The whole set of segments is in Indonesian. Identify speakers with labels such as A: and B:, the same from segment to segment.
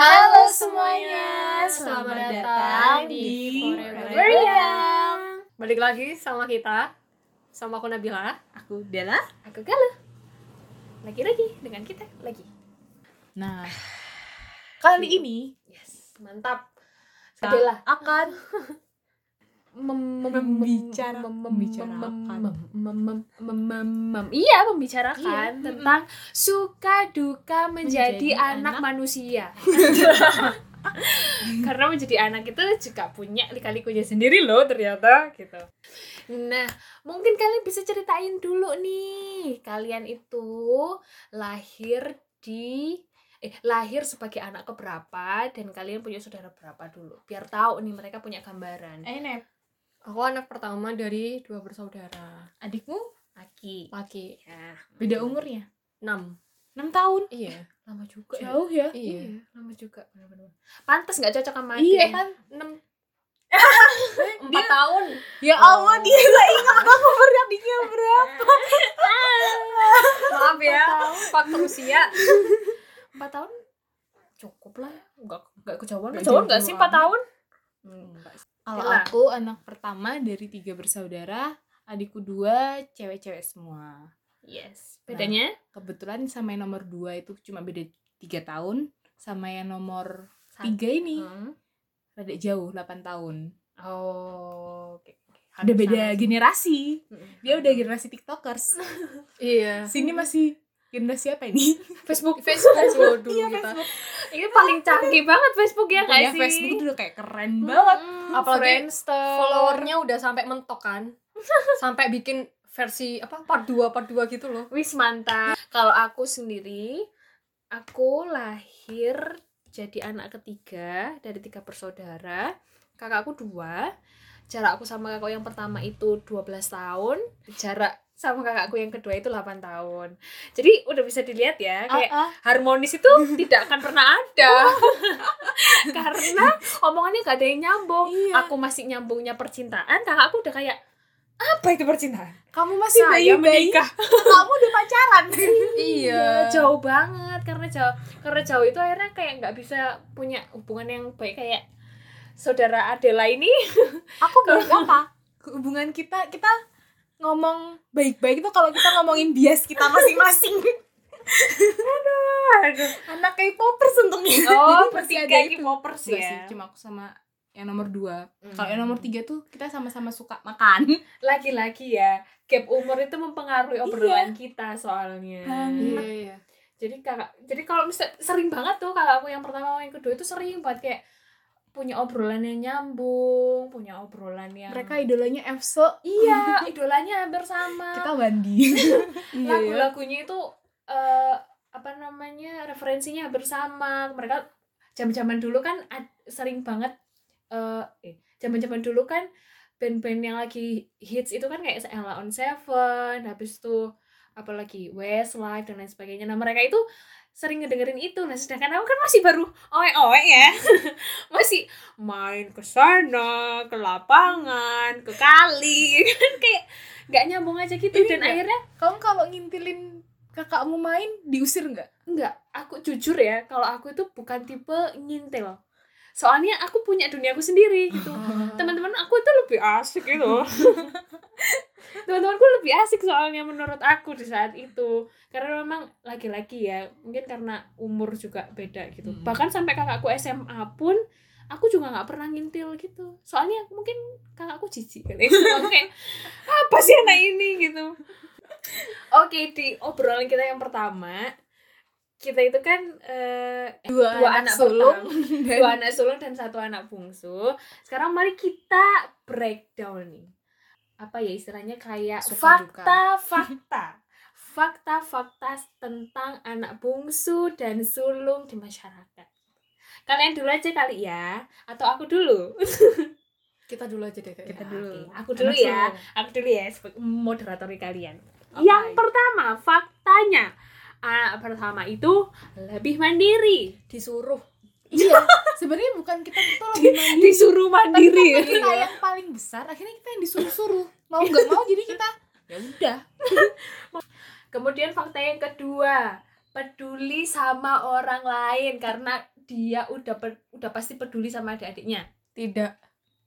A: Halo semuanya, selamat datang di Forever Balik lagi sama kita, sama aku Nabila
B: Aku Bella.
A: Aku Galuh Lagi-lagi dengan kita, lagi
B: Nah, kali ini
A: Yes, mantap
B: kita
A: Adela
B: akan
A: Mem- mem-
B: Membicara-
A: mem- mem-
B: membicarakan.
A: mem- mem- mem- mem- mem- mem- iya membicarakan
B: Iya.
A: tentang suka duka menjadi,
B: Menjadi
A: anak,
B: anak.
A: manusia karena menjadi anak itu juga punya lika-likunya sendiri loh ternyata gitu nah mungkin kalian bisa ceritain dulu nih kalian itu lahir di eh lahir sebagai anak keberapa dan kalian punya saudara berapa dulu biar tahu nih mereka punya gambaran
B: Eh, Nep,
C: Aku anak pertama dari dua bersaudara.
B: adikmu
A: Aki.
C: Laki
A: Ya.
B: beda um- umurnya
C: 6.
B: 6 tahun.
C: Iya.
A: Lama juga ya.
B: ya.
C: Iya.
A: Lama juga benar-benar. Pantas nggak cocok sama Aki.
B: Iya.
A: kan?
C: 4 tahun.
B: Ya Allah, dia gak ingat aku beradiknya berapa.
C: Maaf ya. Faktor usia.
A: 4 tahun cukup lah. Nggak nggak kejauhan.
B: Nggak
A: Kejauhan nggak sih 4
B: jauh amat.
A: tahun?
B: Kalau
C: Iya.
A: Bella.
B: aku anak pertama dari tiga bersaudara, adikku dua, cewek-cewek semua.
A: Yes. Bedanya
B: Kebetulan sama yang nomor dua itu cuma beda tiga tahun, sama yang nomor
A: Sat-
B: tiga ini
A: Hmm.
B: rada jauh 8 tahun.
A: Oh, oke. oke.
B: Udah
A: Hampir sama
B: beda
A: sih.
B: generasi.
A: Mm-mm.
B: Dia udah generasi TikTokers.
C: Iya.
B: Sini masih generasi apa ini?
C: Facebook. Facebook dulu kita.
A: Ini paling canggih banget Facebook ya guys
B: Iya,
A: sih.
B: Facebook dulu kayak keren banget.
A: Mm-mm.
C: Apalagi
A: Friendster.
C: Followernya udah sampai mentok kan. Sampai bikin versi apa part 2 part 2 gitu loh.
A: Wis mantap. Kalau aku sendiri, aku lahir jadi anak ketiga dari tiga bersaudara. Kakakku dua. Jarak aku sama kakakku yang pertama itu 12 tahun. Jarak sama kakakku yang kedua itu 8 tahun. Jadi udah bisa dilihat ya, kayak
B: Ah, ah.
A: harmonis itu tidak akan pernah ada. Karena omongannya gak ada yang nyambung.
B: Iya.
A: Aku masih nyambungnya percintaan, kakakku udah kayak apa itu percintaan?
B: kamu masih
A: Saya
B: bayi-bayi.
A: menikah.
B: kamu udah pacaran.
A: Iya, jauh banget karena jauh karena jauh itu akhirnya kayak nggak bisa punya hubungan yang baik kayak saudara Adela ini
B: Aku bilang apa? Hubungan kita kita ngomong baik-baik itu kalau kita ngomongin bias kita masing-masing. Anak K-popers untungnya.
A: oh
B: Jadi masih
A: bertiga
B: ada itu.
A: K-popers
B: Enggak sih,
A: ya
B: cuma aku sama yang nomor dua.
A: Hmm.
B: Kalau yang nomor tiga tuh kita sama-sama suka makan.
A: lagi-lagi ya gap umur itu mempengaruhi obrolan kita soalnya
B: Banget.
C: iya.
A: jadi kakak jadi kalau misal sering banget tuh kakakku yang pertama yang kedua itu sering banget kayak punya obrolan yang nyambung punya obrolan yang
B: Mereka idolanya EXO,
A: iya idolanya hampir sama
B: kita Wandi. Iya.
A: Iya. lagu-lagunya itu eh, apa namanya referensinya hampir sama mereka zaman-zaman dulu kan ad- sering banget eh, eh zaman-zaman dulu kan band-band yang lagi hits itu kan kayak Ella on Seven habis itu apalagi Westlife dan lain sebagainya nah mereka itu sering ngedengerin itu nah sedangkan aku kan masih baru oe oe ya masih main ke sana ke lapangan ke kali kan kayak nggak nyambung aja gitu
B: Ini
A: dan
B: nggak-
A: akhirnya
B: Kamu kalau ngintilin kakakmu main diusir nggak?
A: Enggak, aku jujur ya, kalau aku itu bukan tipe ngintil. Soalnya aku punya duniaku sendiri gitu. Teman-teman aku itu lebih asik gitu. Teman-temanku lebih asik soalnya menurut aku di saat itu. Karena memang laki-laki ya, mungkin karena umur juga beda gitu.
B: Hmm.
A: Bahkan sampai kakakku SMA pun aku juga nggak pernah ngintil gitu. Soalnya mungkin kakakku jijik kali. Aku kayak apa sih anak ini gitu. Oke, di obrolan kita yang pertama kita itu kan eh,
B: Dua,
A: dua anak, sulung,
B: dan
A: dua anak sulung dan satu anak bungsu. Sekarang mari kita breakdown nih. Apa ya istilahnya kayak
B: Suka duka.
A: fakta-fakta. Fakta-fakta tentang anak bungsu dan sulung di masyarakat. Kalian dulu aja kali ya, atau aku dulu.
C: Kita dulu aja deh kayaknya.
A: Kita
B: Kita
A: dulu.
B: dulu.
A: Aku dulu
B: Anak
A: ya.
B: sulung.
A: Aku dulu ya sebagai moderatori kalian.
B: Apa ya?
A: Yang
B: itu?
A: pertama, faktanya anak pertama itu lebih mandiri.
C: Disuruh.
B: Iya, sebenarnya bukan kita tuh lebih mandiri.
A: Disuruh
B: Tapi
A: mandiri.
B: karena kita yang paling besar, akhirnya kita yang disuruh-suruh. Mau nggak mau jadi kita ya udah.
A: Kemudian fakta yang kedua, peduli sama orang lain karena dia udah per- udah pasti peduli sama adik-adiknya
C: Tidak.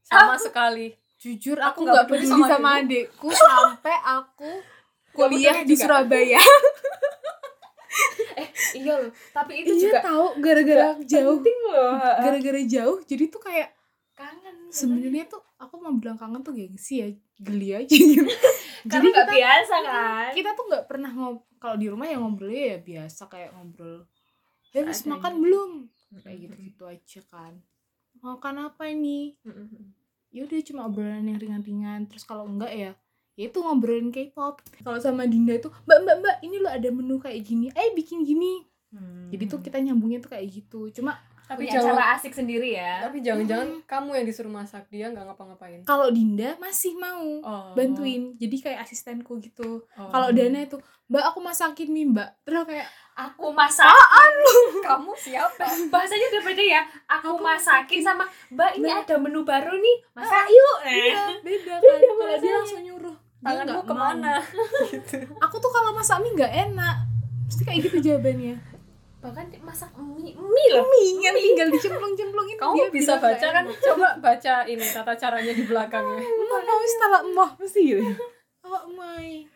C: Sama sekali.
B: Jujur
C: Aku
B: aku
C: nggak
B: nggak peduli
C: peduli
B: sama,
C: sama
B: adikku sampai aku kuliah
A: peduli
B: di
A: juga.
B: Surabaya.
A: eh iya loh tapi itu
B: iya
A: juga
B: tahu gara-gara
A: juga
B: jauh,
A: penting loh
B: gara-gara jauh. Jadi tuh kayak
A: kangen
B: Mm-hmm. sebenarnya tuh aku mau bilang kangen tuh gengsi ya, geli aja gitu.
A: karena
B: Jadi
A: nggak
B: kita Iya.
A: biasa kan
B: kita tuh nggak pernah ngob kalau di rumah ya ngobrolnya ya biasa kayak ngobrol. Ya habis
A: Seadanya.
B: makan belum? Kayak
A: Mm-mm.
B: gitu-gitu aja kan. Makan apa nih?
A: Mm-mm.
B: ya udah cuma obrolan yang ringan-ringan terus kalau enggak ya ya itu ngobrolin K-pop kalau sama Dinda itu mbak mbak mbak ini lo ada menu kayak gini ayo bikin gini Hmm. jadi
C: Hmm.
B: tuh kita nyambungnya tuh kayak gitu cuma
C: Tapi
A: punya
C: jangan
A: cara asik sendiri
B: Iya.
A: ya
C: tapi jangan-jangan kamu yang disuruh masak, dia nggak ngapa-ngapain.
B: kalau Dinda masih mau
C: Oh.
B: bantuin jadi kayak asistenku gitu
C: Oh.
B: kalau Dana itu mbak aku masakin mie mbak terus kayak
A: aku masak
B: Ah!
C: kamu siapa?
A: bahasanya udah beda ya aku,
B: Aku
A: masakin sama mbak ini
B: Mbak.
A: ada menu baru nih masak yuk eh.
B: iya beda kan kalau dia
A: bahasanya.
B: langsung nyuruh dia
C: Tanganmu
B: nggak
C: kemana? gitu.
B: mau. aku tuh kalau masak mie nggak enak pasti kayak gitu jawabannya
A: bahkan dia masak mie mie loh
B: mie yang tinggal dicemplung-cemplungin
C: kan? Kamu
B: dia
C: bisa
B: bilang "Mm, nggak
C: baca
B: enak.
C: kan? Coba baca ini tata caranya di belakangnya.
B: Mau mau wis talak emoh mesti gitu. Awak mai.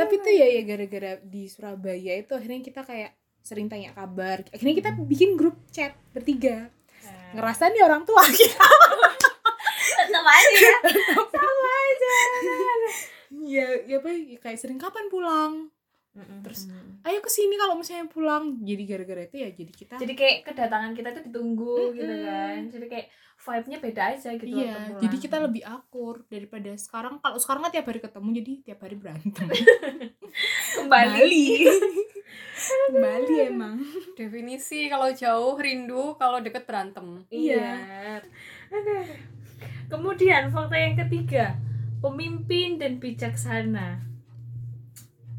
B: Tapi tuh ya ya gara-gara di Surabaya itu akhirnya kita kayak sering tanya kabar. Akhirnya kita bikin grup chat bertiga.
A: gitu.
B: Ngerasa nih orang tua kita.
A: tetap aja ya
B: Sama aja. ya ya apa ya, kayak sering kapan pulang?
A: terus
B: Ayo ke sini kalau misalnya pulang. Jadi gara-gara itu ya jadi kita
A: jadi kayak kedatangan kita tuh ditunggu gitu
B: Mm-mm.
A: kan jadi kayak vibe-nya beda aja gitu waktu
B: Iya,
A: pulang.
B: jadi kita lebih akur daripada sekarang. Kalau sekarang kan tiap hari ketemu, jadi tiap hari berantem.
A: kembali
B: Kembali emang.
C: Definisi kalau jauh rindu, kalau deket berantem.
A: iya Oke. kemudian fakta yang ketiga pemimpin dan bijaksana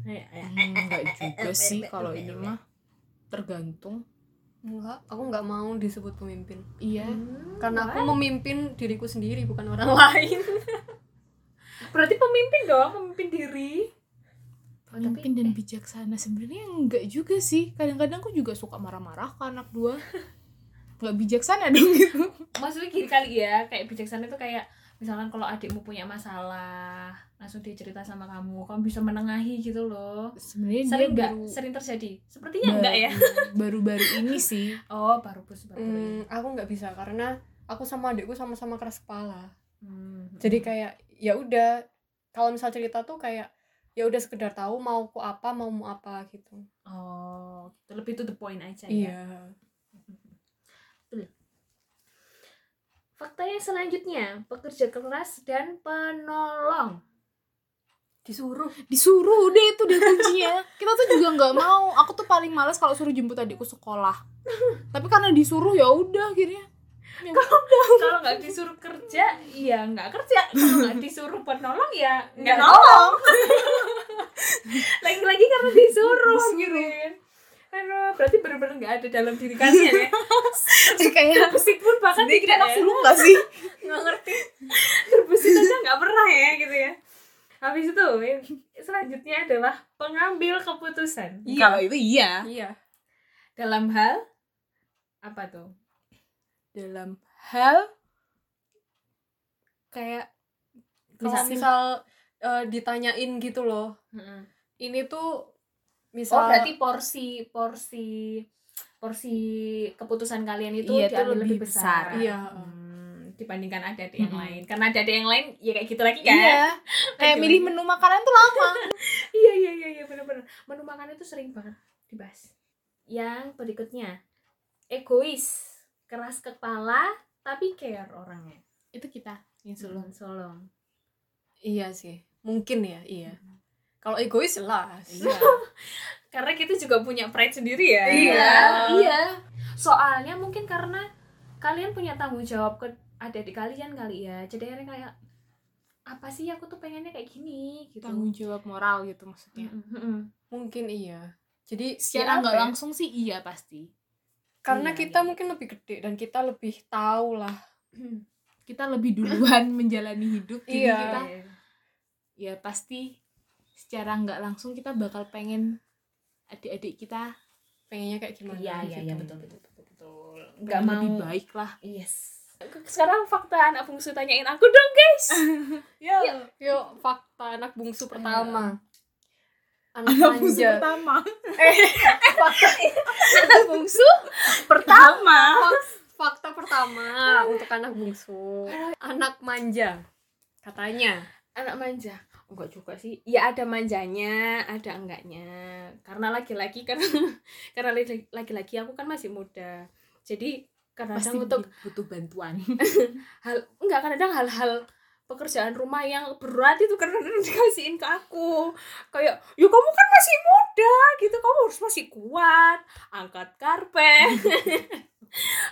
A: Ayo, ayo.
B: Hmm, Enggak juga sih kalau ini mah tergantung.
C: Enggak, aku nggak mau disebut pemimpin.
B: Iya.
A: Hmm,
C: Karena
A: wah.
C: aku memimpin diriku sendiri, bukan orang lain.
A: berarti pemimpin dong pemimpin diri
B: Pemimpin dan bijaksana sebenarnya enggak juga sih. Kadang-kadang aku juga suka marah-marah ke anak dua. Enggak bijaksana dong gitu.
A: maksudnya gini kali ya kayak bijaksana itu kayak misalkan kalau adikmu punya masalah langsung dia cerita sama kamu kamu bisa menengahi gitu loh
B: Sebenarnya dia
A: sering nggak
B: baru
A: sering terjadi sepertinya enggak ya
B: baru- Baru-baru ini sih.
A: oh baru bus baru
C: Hmm, aku nggak bisa karena aku sama adikku sama-sama keras kepala.
A: Hmm.
C: Jadi kayak ya udah kalau misal cerita tuh kayak ya udah sekedar tahu mau ku apa mau mu apa gitu.
A: oh gitu. lebih to the point aja ya
C: Iya.
A: fakta yang selanjutnya pekerja keras dan penolong
C: Disuruh.
B: Disuruh deh itu dia kuncinya. Kita tuh juga enggak mau. Aku tuh paling males kalau suruh jemput adikku sekolah. Tapi karena disuruh ya udah akhirnya. Ya
A: kalau nggak disuruh kerja ya nggak kerja kalau nggak disuruh penolong ya nggak
C: Nggak
A: nolong lagi-lagi karena disuruh,
B: Disuruh.
A: gitu kan Aduh, berarti benar-benar nggak ada dalam diri kalian ya
B: udah. kayak
A: terbesit pun bahkan
B: dia kira
A: tidak
B: anak
A: ya.
B: sulung enggak sih?
A: nggak ngerti terbesit aja nggak pernah ya gitu ya habis itu yang selanjutnya adalah pengambil keputusan
B: Kalau itu iya.
C: Iya.
A: dalam hal apa tuh
B: dalam hal kayak
C: Kalau
B: Misal-
C: misal eh, ditanyain gitu loh.
A: Mm-mm.
C: Ini tuh misal
A: Oh berarti porsi porsi porsi keputusan kalian itu
B: Iya, itu
A: diambil
B: lebih
A: lebih, besar.
B: besar.
C: Iya.
A: Hmm, dibandingkan adik-adik yang
B: Mm-mm.
A: lain. Karena adik-adik yang lain ya kayak gitu lagi kan.
B: iya kayak
A: Aduh.
B: milih menu makanan tuh lama
A: iya iya iya iya benar-benar. Menu makan itu sering banget dibahas. Yang berikutnya egois, keras kepala tapi care orangnya. Hmm.
B: itu kita yang
A: Solong solong.
C: iya sih. Mungkin ya, iya. Kalau egois jelas.
B: iya
A: Karena kita juga punya pride sendiri ya.
C: Iya.
A: iya. Soalnya mungkin karena kalian punya tanggung jawab ke adik-adik kalian kali ya. Jadi akhirnya kayak apa sih aku tuh pengennya kayak gini gitu.
B: tanggung jawab moral gitu maksudnya
A: Mm, mm, mm.
C: Mungkin iya. Jadi
B: secara
C: ya apa
B: nggak
C: ya,
B: langsung sih iya pasti
C: karena
A: Iya,
C: kita
A: iya.
C: mungkin lebih gede dan kita lebih tahu lah.
B: kita lebih duluan menjalani hidup jadi
C: Iya.
B: kita ya pasti secara nggak langsung kita bakal pengen adik-adik kita
C: pengennya kayak gimana
A: Iya iya
C: gitu.
A: iya betul betul betul. betul. nggak
B: pengen
A: mau
B: lebih baik lah
A: yes sekarang fakta anak bungsu tanyain aku dong guys
B: ya
C: Yuk, fakta anak bungsu pertama. Anak,
B: anak bungsu
C: manja.
B: pertama
A: Eh,
C: Fakta,
A: anak bungsu
B: pertama
C: fakta pertama untuk anak bungsu. Anak manja. Katanya.
A: anak manja enggak juga sih ya ada manjanya ada enggaknya karena laki-laki kan karena li- laki-laki aku kan masih muda jadi
B: pasti
A: kadang untuk
B: butuh bantuan
A: hal enggak kadang hal-hal pekerjaan rumah yang berat itu kadang dikasihin ke aku kayak ya kamu kan masih muda gitu kamu harus masih kuat angkat karpet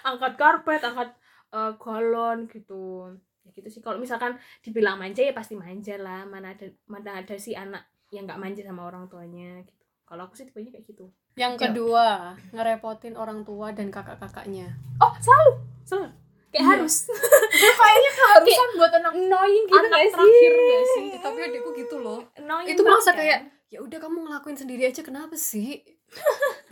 A: angkat karpet angkat eh, galon gitu ya gitu sih kalau misalkan dibilang manja ya pasti manja lah mana ada mana ada sih anak yang nggak manja sama orang tuanya gitu kalau aku sih tipenya kayak gitu
C: Yang
A: Yuk.
C: kedua, ngerepotin orang tua dan kakak-kakaknya.
A: oh selalu selalu kayak
B: Iya.
A: harus
B: kayaknya keharusan buat anak
A: annoying gitu
C: anak
A: nggak sih
C: terakhir gak Iya sih? Tapi adikku gitu loh.
A: Annoying
C: Itu merasa
A: banget,
C: kayak,
A: kan?
C: Ya udah kamu ngelakuin sendiri aja kenapa sih?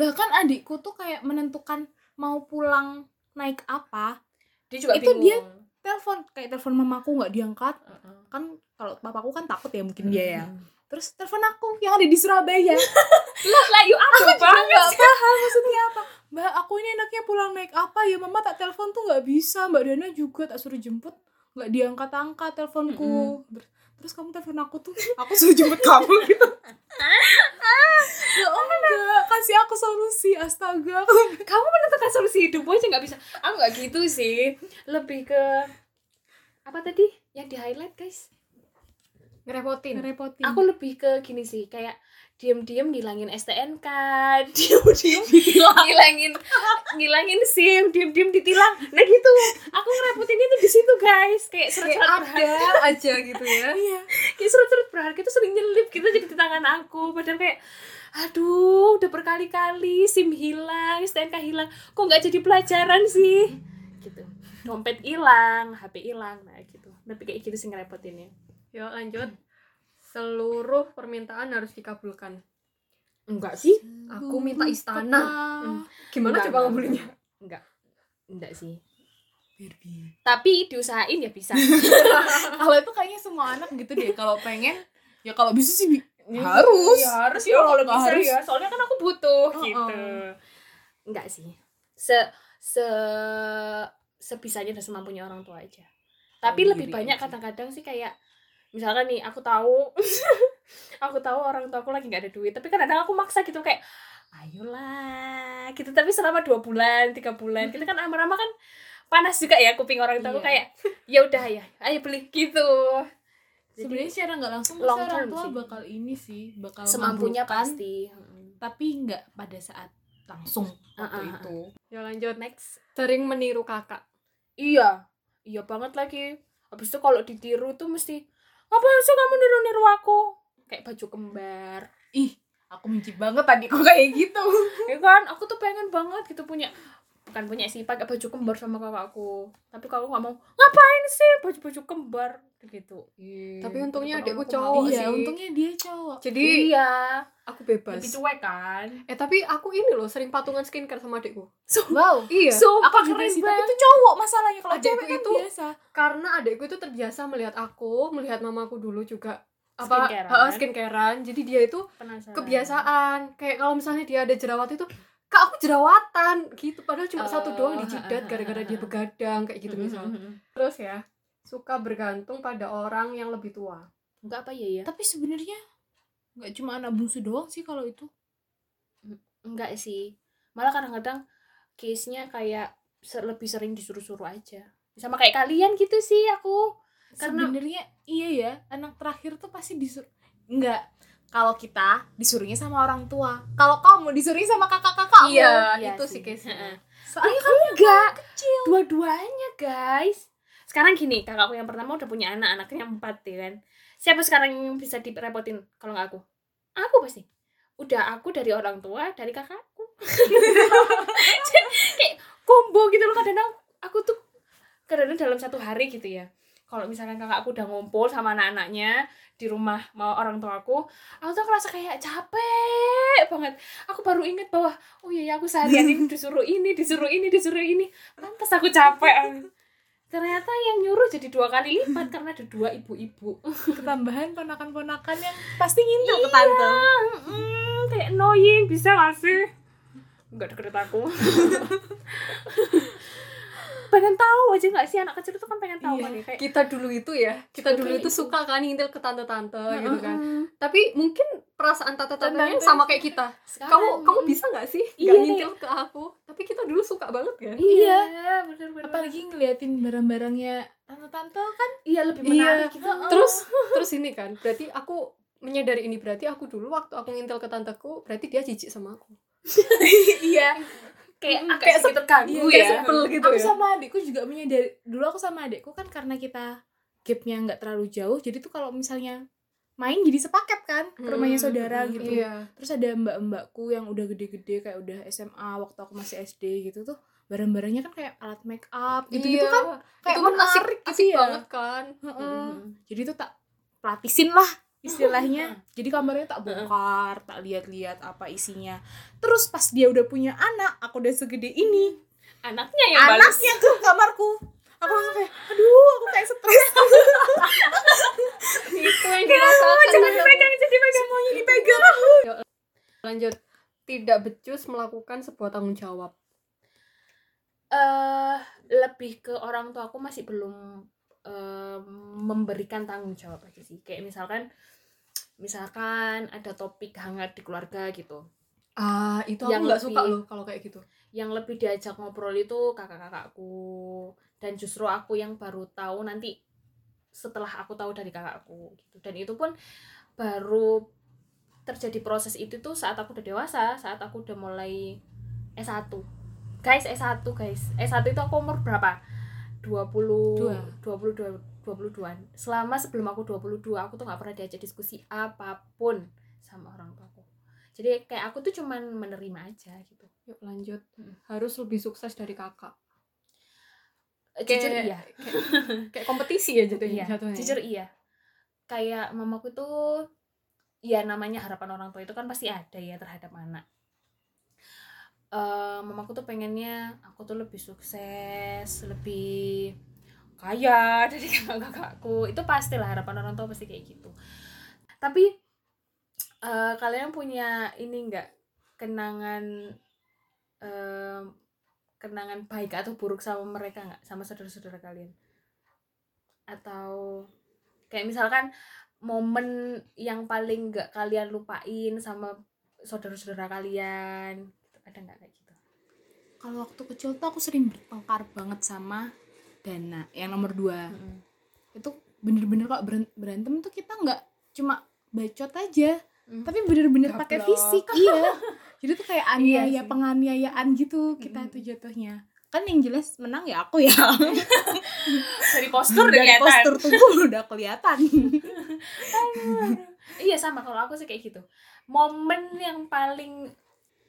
B: bahkan adikku tuh kayak menentukan mau pulang naik apa
A: dia juga
B: Itu
A: bingung.
B: dia- telepon kayak telepon mamaku nggak diangkat
A: Heeh.
B: kan kalau papaku kan takut ya mungkin dia ya
A: Hmm.
B: terus telepon aku yang ada di Surabaya
A: lah yuk aku banget
B: nggak paham maksudnya apa mbak aku ini enaknya pulang naik apa ya mama tak telepon tuh nggak bisa mbak Dana juga tak suruh jemput nggak diangkat angkat teleponku Ber- terus kamu telepon aku tuh aku suruh jemput kamu gitu ya oh, enggak kasih aku solusi astaga
A: kamu menentukan solusi hidupmu aja nggak bisa aku nggak gitu sih lebih ke apa tadi yang di highlight guys
C: Ngerepotin.
B: ngerepotin
A: aku lebih ke gini sih kayak diem-diem ngilangin STNK kan. diem-diem ngilangin ngilangin SIM diem-diem ditilang nah gitu aku ngerepotinnya tuh di situ guys kayak
C: Kayak
A: surat-surat berharga
C: ada aja gitu ya.
B: iya
A: kayak surat-surat berharga itu sering nyelip gitu aja di tangan aku padahal kayak aduh udah berkali-kali SIM hilang STNK hilang kok nggak jadi pelajaran sih gitu dompet hilang HP hilang nah gitu tapi kayak gitu sih ngerepotinnya
C: Yuk lanjut. Seluruh permintaan harus dikabulkan.
A: enggak sih
C: Aku minta istana.
A: Mm.
B: Hmm.
C: Gimana
A: Enggak,
C: coba
A: enggak.
C: ngabulin
A: enggak enggak sih
B: Barbie.
A: tapi diusahain ya bisa
B: kalau itu kayaknya semua anak gitu deh kalau pengen ya kalau bisa sih bi- harus
A: ya harus
B: Iya,
A: ya kalau
B: nggak
A: bisa
B: harus.
A: ya soalnya kan aku butuh
B: Oh,
A: gitu
B: oh.
A: enggak sih se se sebisanya dan semampunya orang tua aja tapi
B: Tahu
A: lebih
B: diri
A: banyak
B: aja.
A: kadang-kadang sih kayak misalkan nih aku tahu aku tahu orang tua aku lagi nggak ada duit tapi kadang-kadang aku maksa gitu kayak ayolah gitu tapi selama dua bulan tiga bulan kita kan lama-lama kan panas juga ya kuping orang tua aku
C: Iya.
A: kayak ya udah ya ayo beli gitu Jadi,
B: sebenarnya secara nggak langsung
A: long
B: pasti orang
A: term
B: tua
A: sih.
B: bakal ini sih bakal
A: semampunya
B: mengabulkan,
A: pasti Mm.
B: tapi nggak pada saat langsung waktu
A: Ah, ah,
B: itu
C: Ya lanjut.
A: next
C: Sering meniru kakak.
A: iya iya banget lagi habis itu kalau ditiru tuh mesti ngapain sih kamu niru-niru aku kayak baju kembar
B: ih aku benci banget tadi kok kayak gitu
A: ya kan aku tuh pengen banget gitu punya bukan punya sih pakai baju kembar sama kakakku tapi kalau nggak mau ngapain sih baju-baju kembar gitu Ih,
C: Tapi untungnya
A: gitu
C: adikku
A: kalau
C: Oh,
A: aku
B: iya
A: mau.
C: sih.
B: untungnya dia cowok
C: Jadi
A: iya
C: aku bebas.
A: lebih cuek kan
C: Eh tapi aku ini loh sering patungan skincare sama adikku.
B: wow
C: Iya.
A: Sumpah,
B: aku juga
A: keren
B: sih tapi
A: banget.
B: itu cowok masalahnya
A: Oh,
B: kalau
C: Adikku
B: cewek kan
C: itu-
B: biasa
C: karena adikku itu terbiasa melihat aku, melihat mamaku dulu juga apa
A: Skincarean.
C: heeh, skincarean. Hmm. Jadi dia itu
A: Penasaran.
C: kebiasaan. Kayak kalau misalnya dia ada jerawat itu, "Kak, aku jerawatan." gitu. Padahal cuma satu doang di
A: Oh,
C: jidat gara-gara dia begadang kayak gitu misal. Terus ya, suka bergantung pada orang yang lebih tua.
A: nggak apa ya ya
B: tapi sebenarnya nggak cuma anak bungsu doang sih kalau itu
A: enggak sih malah kadang-kadang case nya kayak ser- lebih sering disuruh-suruh aja sama kayak kalian gitu sih aku Karena-
B: sebenarnya iya ya anak terakhir tuh pasti disuruh nggak kalau kita disuruhnya sama orang tua kalau kamu disuruhnya sama kakak kakak
A: iya
C: itu
A: sih.
C: sih case-nya.
B: soalnya
A: enggak dua-duanya guys sekarang gini kakakku yang pertama udah punya anak anaknya empat ya kan siapa sekarang yang bisa direpotin kalau nggak aku aku pasti udah aku dari orang tua dari kakakku Jadi, kayak combo gitu loh kadang aku tuh kadang dalam satu hari gitu ya kalau misalkan kakakku udah ngumpul sama anak-anaknya di rumah mau orang tuaku aku tuh ngerasa kayak capek banget aku baru inget bahwa oh iya ya, aku seharian ini disuruh ini disuruh ini disuruh ini pantas aku capek ternyata yang nyuruh jadi dua kali lipat karena ada dua ibu-ibu
B: ketambahan ponakan-ponakan yang pasti ngintil ke
A: Iya.
B: tante
A: Mm, kayak annoying bisa gak sih nggak deket aku pengen tahu aja nggak sih anak kecil itu kan pengen tahu
B: Iya.
A: kan ya, kayak
C: kita dulu itu ya kita
A: Seperti
C: dulu itu
A: itu.
C: suka kan ngintil ke tante-tante
A: Iya,
C: gitu kan
A: Mm-mm.
C: tapi mungkin perasaan tante-tantenya
B: Tante-tante.
C: sama kayak kita
A: Sekarang-
C: kamu kamu bisa nggak sih nggak
A: Iya, kayak-
C: ngintil ke aku tapi kita dulu suka banget kan
A: iya bener-bener
B: apalagi ngeliatin barang-barangnya tante-tante kan
A: iya lebih
C: Iya.
A: menarik gitu
C: terus terus ini kan berarti aku menyadari ini berarti aku dulu waktu aku ngintil ke tanteku berarti dia jijik sama aku
B: iya
A: kayak
C: Mm,
A: agak
C: kayak
A: sedikit terganggu
C: Iya,
A: ya
C: kayak sebel gitu
B: aku
C: ya
B: sama adikku juga menyadari dulu aku sama adikku kan karena kita gapnya nggak terlalu jauh jadi tuh kalau misalnya main jadi sepaket kan ke rumahnya saudara
A: hmm,
B: gitu
C: iya
B: terus ada mbak-mbakku yang udah gede-gede kayak udah SMA waktu aku masih SD gitu tuh barang-barangnya kan kayak alat make up gitu gitu
C: Iya.
B: kan kayak
C: itu kan asik,
B: menarik gitu
C: asik
B: ya.
C: banget kan
B: Heeh. jadi tuh tak pratisin lah istilahnya jadi kamarnya tak bongkar tak lihat-lihat apa isinya terus pas dia udah punya anak aku udah segede ini
A: anaknya yang balas
B: anaknya ke kamarku aku langsung kayak aduh aku kayak stres
C: itu yang dirasakan
B: jadi pegang semuanya dipegang
C: lanjut tidak becus melakukan sebuah tanggung jawab
A: eh lebih ke orang tua aku masih belum eh, memberikan tanggung jawab aja sih kayak misalkan misalkan ada topik hangat di keluarga gitu
C: ah itu
A: Yang
C: aku nggak suka
A: lebih-
C: loh kalau kayak gitu
A: yang lebih diajak ngobrol itu kakak-kakakku dan justru aku yang baru tahu nanti setelah aku tahu dari kakakku gitu dan itu pun baru terjadi proses itu tuh saat aku udah dewasa saat aku udah mulai S1 guys S1 guys S1 itu aku umur berapa 20
B: Dua.
A: 22 22-an selama sebelum aku 22 aku tuh nggak pernah diajak diskusi apapun sama orang tuaku jadi kayak aku tuh cuman menerima aja gitu
C: yuk lanjut
A: Mm.
C: harus lebih sukses dari kakak
A: Kayak-
C: Jujur, iya. kayak, kayak kompetisi ya jatuhnya,
A: iya
C: jatuhnya.
A: jujur iya kayak mamaku tuh ya namanya harapan orang tua itu kan pasti ada ya terhadap anak Eh mamaku tuh pengennya aku tuh lebih sukses lebih kaya dari kakak-kakakku itu pastilah harapan orang tua pasti kayak gitu tapi eh, kalian punya ini enggak kenangan eh, kenangan baik atau buruk sama mereka nggak sama saudara-saudara kalian atau kayak misalkan momen yang paling nggak kalian lupain sama saudara-saudara kalian ada nggak kayak gitu
B: kalau waktu kecil tuh aku sering bertengkar banget sama Dana yang nomor dua itu bener-bener kok beren- berantem tuh kita nggak cuma bacot aja
A: Hmm.
B: tapi bener-bener pakai
C: Gablok.
B: fisik iya jadi tuh kayak
A: Iya
B: aniaya
A: sih. Hmm.
B: penganiayaan gitu kita
A: Mm-mm.
B: tuh jatuhnya kan yang jelas menang ya aku ya
A: dari postur
B: dari postur tubuh udah kelihatan
A: iya sama kalau aku sih kayak gitu momen yang paling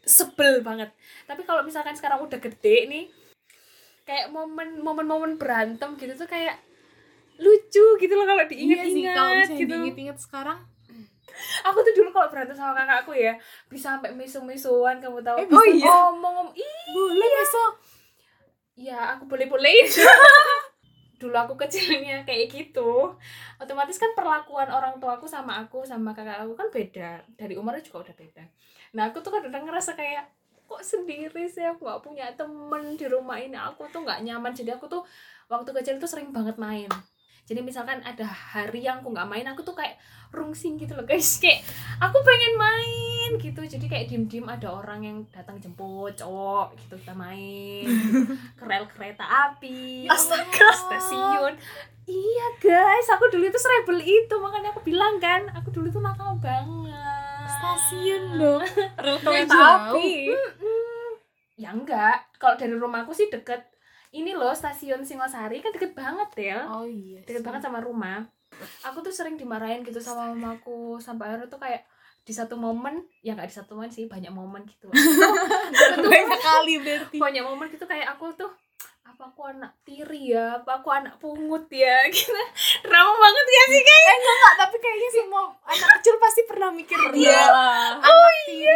A: sebel banget tapi kalau misalkan sekarang udah gede nih kayak momen momen-momen berantem gitu tuh kayak lucu gitu loh kalau
B: Iya sih, kalau
A: diinget-inget
B: misalnya
A: gitu
B: diinget-inget sekarang
A: aku tuh dulu kalau berantem sama kakakku ya bisa sampai misu-misuan kamu tahu
B: Eh, bisa.
A: oh iya ngomong
B: boleh besok
A: ya aku boleh bolehin dulu aku kecilnya kayak gitu otomatis kan perlakuan orang tuaku sama aku sama kakak aku kan beda dari umurnya juga udah beda nah aku tuh kadang ngerasa kayak kok sendiri sih aku gak punya temen di rumah ini aku tuh nggak nyaman jadi aku tuh waktu kecil tuh sering banget main jadi misalkan ada hari yang aku nggak main aku tuh kayak rungsing gitu loh guys kayak aku pengen main gitu jadi kayak diem diem ada orang yang datang jemput cowok gitu kita main gitu. ke rel kereta
B: ya
A: api Oh,
B: Astaga.
A: stasiun iya guys aku dulu itu serebel itu makanya aku bilang kan aku dulu tuh nakal banget
B: stasiun dong
C: Rel
B: kereta api.
A: Iya, Mm-mm. ya enggak kalau dari rumahku sih deket ini loh stasiun Singosari kan deket banget ya
B: oh iya
A: deket banget sama rumah aku tuh sering dimarahin gitu sama mamaku sampai akhirnya tuh kayak di satu momen ya nggak di satu momen sih banyak momen gitu Aku tuh
B: banyak kali berarti
A: banyak momen gitu kayak aku tuh apa aku aku anak tiri ya apa aku anak pungut ya gitu drama banget ya sih guys
B: Eh, Enggak, tapi kayaknya semua anak kecil pasti pernah mikir dia.
C: oh iya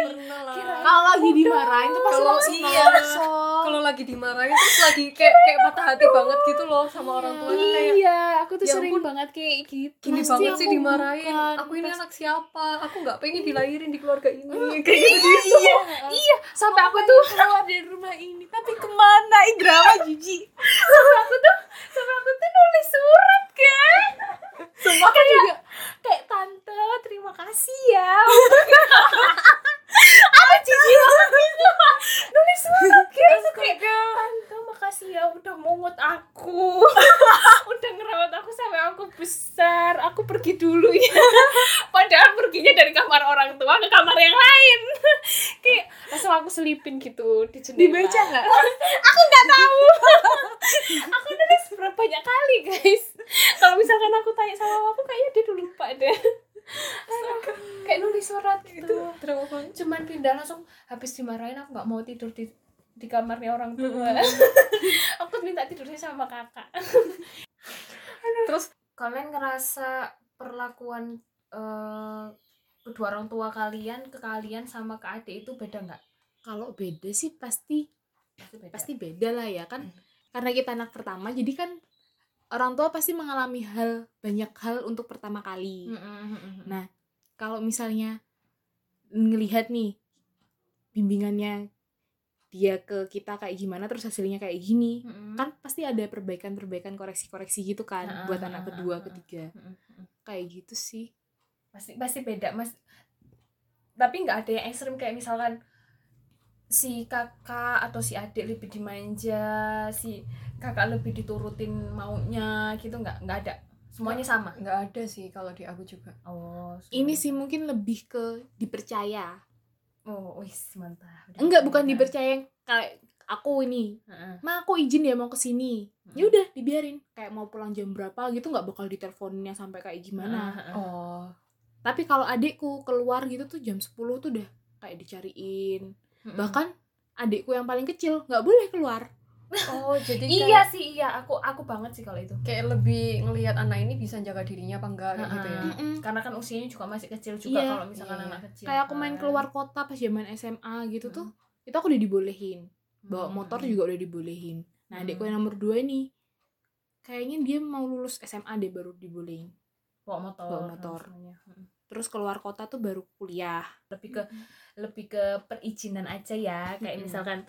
B: Kalau lagi dimarahin tuh pasti
C: Kalau
B: langsung
C: iya.
B: nongol.
C: kalau lagi dimarahin terus lagi kayak kayak patah hati banget gitu loh sama orang tua tuh kayak
A: iya aku tuh
C: Ya
A: sering
C: ampun.
A: banget kayak gitu
C: gini
A: Pasti
C: banget sih
A: aku
C: dimarahin
A: bukan.
C: aku ini
A: Pasti-
C: anak siapa aku nggak pengen dilahirin di keluarga ini kayak gitu.
A: iya
B: gitu.
A: iya iya sampai aku tuh
B: keluar dari rumah ini, tapi kemana? Ih, drama jijik.
A: sampai aku tuh sampai aku tuh nulis surat kan
B: Sumpah aku juga.
A: kayak tante terima kasih ya aku jijik banget gitu nulis surat guys kayak tante makasih ya udah mungut aku udah ngerawat aku sampai aku besar aku pergi dulu ya padahal perginya dari kamar orang tua ke kamar yang lain kayak langsung aku selipin gitu di jendela
B: Dibaca nggak?
A: aku nggak tahu aku nulis berapa banyak kali guys kalau misalkan aku tanya sama aku kayaknya dia udah lupa deh kayak nulis surat gitu
C: drama banget
A: cuman pindah langsung habis dimarahin aku nggak mau tidur di di kamarnya orang tua aku minta tidurnya sama kakak
C: terus
A: kalian ngerasa perlakuan eh, kedua orang tua kalian ke kalian sama ke adik itu beda nggak
B: Kalau beda sih pasti
A: pasti beda
B: pasti beda lah ya
A: Hmm.
B: kan karena kita anak pertama jadi kan orang tua pasti mengalami hal banyak hal untuk pertama kali
A: Hmm.
B: Nah, kalau misalnya ngelihat nih bimbingannya dia ke kita kayak gimana terus hasilnya kayak
A: Hmm.
B: gini kan pasti ada perbaikan-perbaikan koreksi-koreksi gitu kan
A: Ah,
B: buat
A: ah, ah,
B: anak
A: ah,
B: kedua
A: ah.
B: ketiga kayak gitu sih
A: pasti pasti beda mas tapi nggak ada yang ekstrim kayak misalkan si kakak atau si adik lebih dimanja si kakak lebih diturutin maunya gitu nggak nggak ada semuanya sama
C: nggak ada sih kalau di aku juga
A: oh
B: ini sih mungkin lebih ke dipercaya
A: oh wis mantap Udah
B: enggak bukan
A: mantap.
B: dipercaya yang kayak aku ini
A: Heeh.
B: ma aku izin ya mau ke sini
A: Hmm.
B: ya udah dibiarin kayak mau pulang jam berapa gitu nggak bakal diteleponnya sampai kayak gimana
A: Heeh, heeh.
C: oh
B: tapi kalau adikku keluar gitu tuh jam 10 tuh udah kayak dicariin
A: Mm-mm.
B: bahkan adikku yang paling kecil nggak boleh keluar
C: oh jadi
A: iya
C: kayak,
A: sih iya aku aku banget sih kalau itu
C: kayak lebih ngelihat anak ini bisa jaga dirinya apa enggak kayak gitu ya
A: Mm-mm.
B: Mm-mm.
A: karena kan usianya juga masih kecil juga
B: Iya.
A: kalau misalkan
C: Iya.
A: anak kecil
B: kayak aku main
A: kan.
B: keluar kota pas zaman SMA gitu tuh itu aku udah dibolehin bawa
A: Mm.
B: motor juga udah dibolehin nah adikku yang nomor dua ini kayaknya dia mau lulus SMA deh baru dibolehin
A: bawa motor
B: Bawa motor.
A: semuanya. Heeh.
B: terus keluar kota tuh baru kuliah
A: lebih ke lebih ke perizinan aja ya kayak
C: Mm-mm.
A: misalkan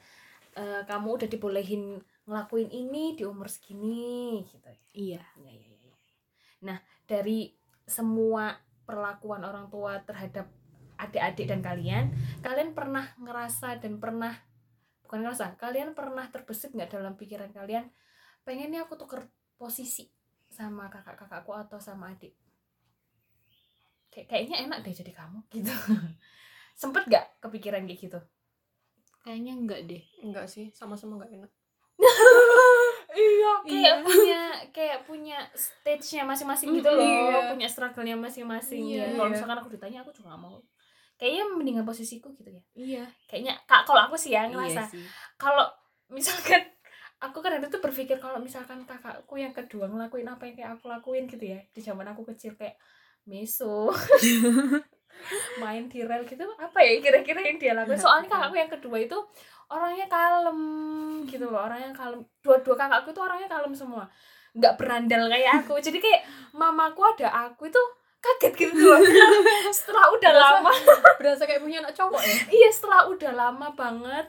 A: eh, kamu udah dibolehin ngelakuin ini di umur segini gitu ya.
B: iya
A: Ya, ya, ya, ya. Nah dari semua perlakuan orang tua terhadap adik-adik dan kalian, kalian pernah ngerasa dan pernah bukan ngerasa, kalian pernah terbesit nggak dalam pikiran kalian pengennya aku tuker posisi sama kakak-kakakku atau sama adik. Kayak kayaknya enak deh jadi kamu gitu. Sempet nggak kepikiran kayak gitu?
B: kayaknya enggak deh
C: enggak sih sama-sama enggak enak
B: iya
A: kayak punya kayak punya stage-nya masing-masing gitu
C: Mm,
A: loh
C: iya.
A: punya struggle-nya masing-masing
B: Iya.
A: ya kalau misalkan aku ditanya aku juga gak mau kayaknya mendingan posisiku gitu ya
B: iya
A: kayaknya kak kalau aku sih ya
B: iya
A: ngerasa
B: sih
A: kalau misalkan aku kan ada tuh berpikir kalau misalkan kakakku yang kedua ngelakuin apa yang kayak aku lakuin gitu ya di zaman aku kecil kayak meso main di rel gitu apa ya kira-kira yang dia lakuin
B: Iya,
A: soalnya kakakku yang kedua itu orangnya kalem gitu loh orangnya kalem dua-dua kakakku itu orangnya kalem semua nggak berandal kayak aku jadi kayak mamaku ada aku itu kaget gitu loh setelah udah lama
C: berasa kayak punya anak cowok ya
A: iya setelah udah lama banget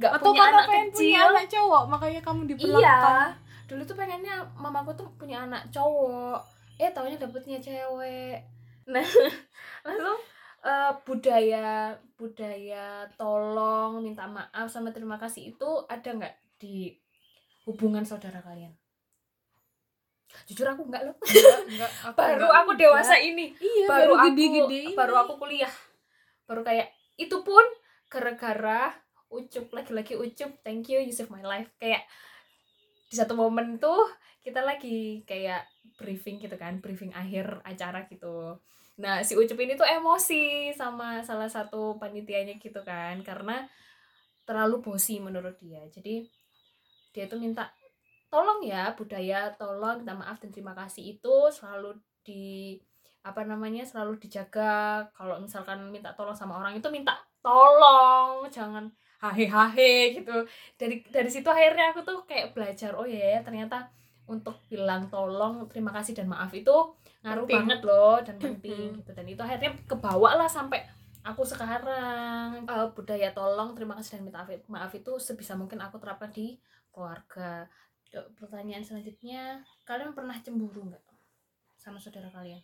A: nggak
B: atau
A: punya
B: karena
A: anak
B: pengen punya
A: kecil
B: anak cowok makanya kamu diperlakukan
A: Iya. Dulu tuh pengennya mamaku tuh punya anak cowok. Eh taunya dapetnya cewek. Nah, langsung eh, budaya budaya tolong minta maaf sama terima kasih itu ada nggak di hubungan saudara kalian? Jujur aku nggak loh. Nah,
C: enggak, enggak, aku
A: Baru
C: enggak.
A: aku dewasa ini
B: iya
A: baru, aku
B: gede-gedein.
A: baru aku kuliah baru kayak itu pun gara-gara ucup lagi-lagi ucup thank you you saved my life kayak di satu momen tuh kita lagi kayak briefing gitu kan briefing akhir acara gitu nah si ucup ini tuh emosi sama salah satu panitianya gitu kan karena terlalu bosi menurut dia jadi dia tuh minta tolong ya budaya tolong minta maaf dan terima kasih itu selalu di apa namanya selalu dijaga kalau misalkan minta tolong sama orang itu minta tolong jangan hahe hahe gitu dari dari situ akhirnya aku tuh kayak belajar oh ya ya, ternyata untuk bilang tolong terima kasih dan maaf itu ngaruh
C: Penting.
A: banget loh dan penting gitu dan itu akhirnya kebawa lah sampai aku sekarang Eh, budaya tolong terima kasih dan minta maaf- maaf itu sebisa mungkin aku terapkan di keluarga Yuk, pertanyaan selanjutnya kalian pernah cemburu nggak sama saudara kalian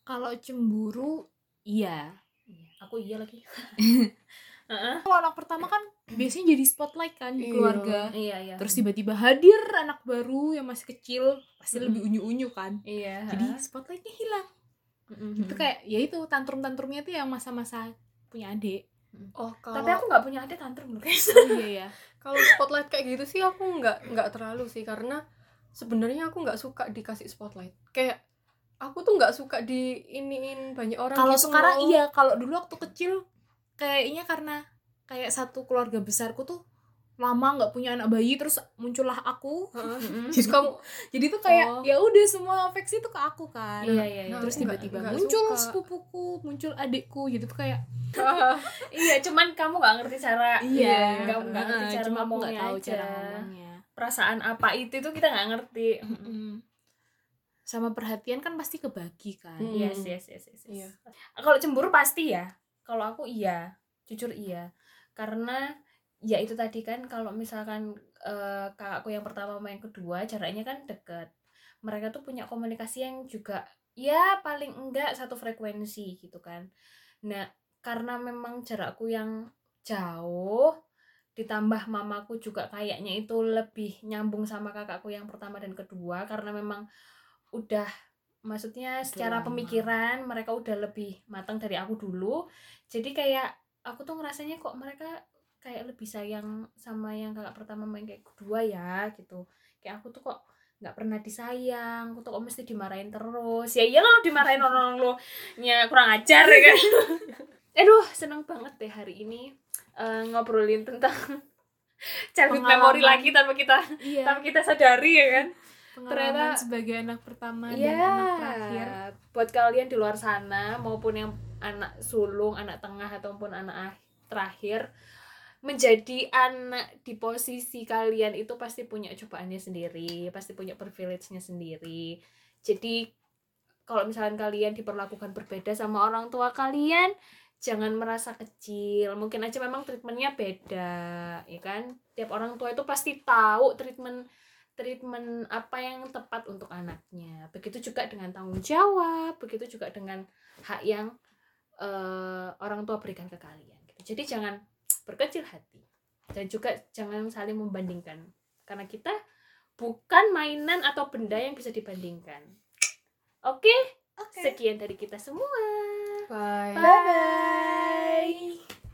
B: Kalau cemburu, iya.
A: Iya, aku iya lagi
B: Kalau anak pertama kan biasanya jadi spotlight kan di
C: Iya.
B: keluarga.
A: iya iya
B: Terus tiba-tiba hadir anak baru yang masih kecil, pasti
A: Mm.
B: lebih unyu-unyu kan.
A: iya
B: Jadi spotlightnya hilang.
A: Mm-mm.
B: Itu kayak ya itu tantrum-tantrumnya tuh yang masa-masa punya adik.
C: oh
A: tapi aku nggak punya adik tantrum loh gitu. guys
B: Oh iya ya.
C: kalau spotlight kayak gitu sih aku nggak nggak terlalu sih karena sebenarnya aku nggak suka dikasih spotlight kayak aku tuh nggak suka di iniin banyak orang
B: Kalau
C: gitu
B: sekarang
C: loh.
B: iya, kalau dulu waktu kecil kayaknya karena kayak satu keluarga besarku tuh lama nggak punya anak bayi terus muncullah aku.
C: Heeh.
A: Mm-mm.
C: terus kamu
B: Jadi tuh kayak
C: Oh.
B: ya udah semua afeksi tuh ke aku kan.
A: iya iya iya
C: Nah,
B: Terus
C: aku nggak-
B: tiba-tiba
C: nggak
B: muncul
C: suka.
B: sepupuku, muncul adikku gitu tuh kayak
A: iya cuman kamu nggak ngerti cara
B: Iya,
A: nggak nggak ngerti
B: heeh,
A: cara
B: cuma aku
A: ngomongnya
B: nggak tahu
A: aja
B: cara ngomongnya.
A: perasaan apa itu itu kita nggak ngerti
B: Sama perhatian kan pasti kebagi kan.
C: Hmm.
A: Yes, yes, yes, yes, yes.
C: Iya.
A: Kalau cemburu pasti ya. Kalau aku iya, jujur iya. Karena ya itu tadi kan kalau misalkan eh, kakakku yang pertama sama yang kedua jaraknya kan deket. Mereka tuh punya komunikasi yang juga ya paling enggak satu frekuensi gitu kan. Nah, karena memang jarakku yang jauh ditambah mamaku juga kayaknya itu lebih nyambung sama kakakku yang pertama dan kedua karena memang udah maksudnya secara
B: lama.
A: pemikiran mereka udah lebih matang dari aku dulu jadi kayak aku tuh ngerasanya kok mereka kayak lebih sayang sama yang kakak pertama main kayak kedua ya gitu kayak aku tuh kok nggak pernah disayang aku tuh kok mesti dimarahin terus ya iyalah lu dimarahin orang lu ya kurang ajar ya kan aduh seneng banget deh hari ini eh, ngobrolin tentang childhood memory
B: Pengalaman.
A: lagi tanpa kita
B: Iya.
A: tanpa kita sadari ya kan
B: Pengalaman
A: ternyata-
B: sebagai anak pertama
A: Iya.
B: dan anak terakhir.
A: buat kalian di luar sana maupun yang anak sulung anak tengah ataupun anak ah- terakhir menjadi anak di posisi kalian itu pasti punya cobaannya sendiri pasti punya privilege-nya sendiri jadi kalau misalkan kalian diperlakukan berbeda sama orang tua kalian jangan merasa kecil mungkin aja memang treatmentnya beda ya kan tiap orang tua itu pasti tahu treatment treatment apa yang tepat untuk anaknya begitu juga dengan tanggung jawab begitu juga dengan hak yang eh, orang tua berikan ke kalian gitu. jadi jangan berkecil hati dan juga jangan saling membandingkan karena kita bukan mainan atau benda yang bisa dibandingkan oke
B: Oke.
A: Sekian dari kita semua.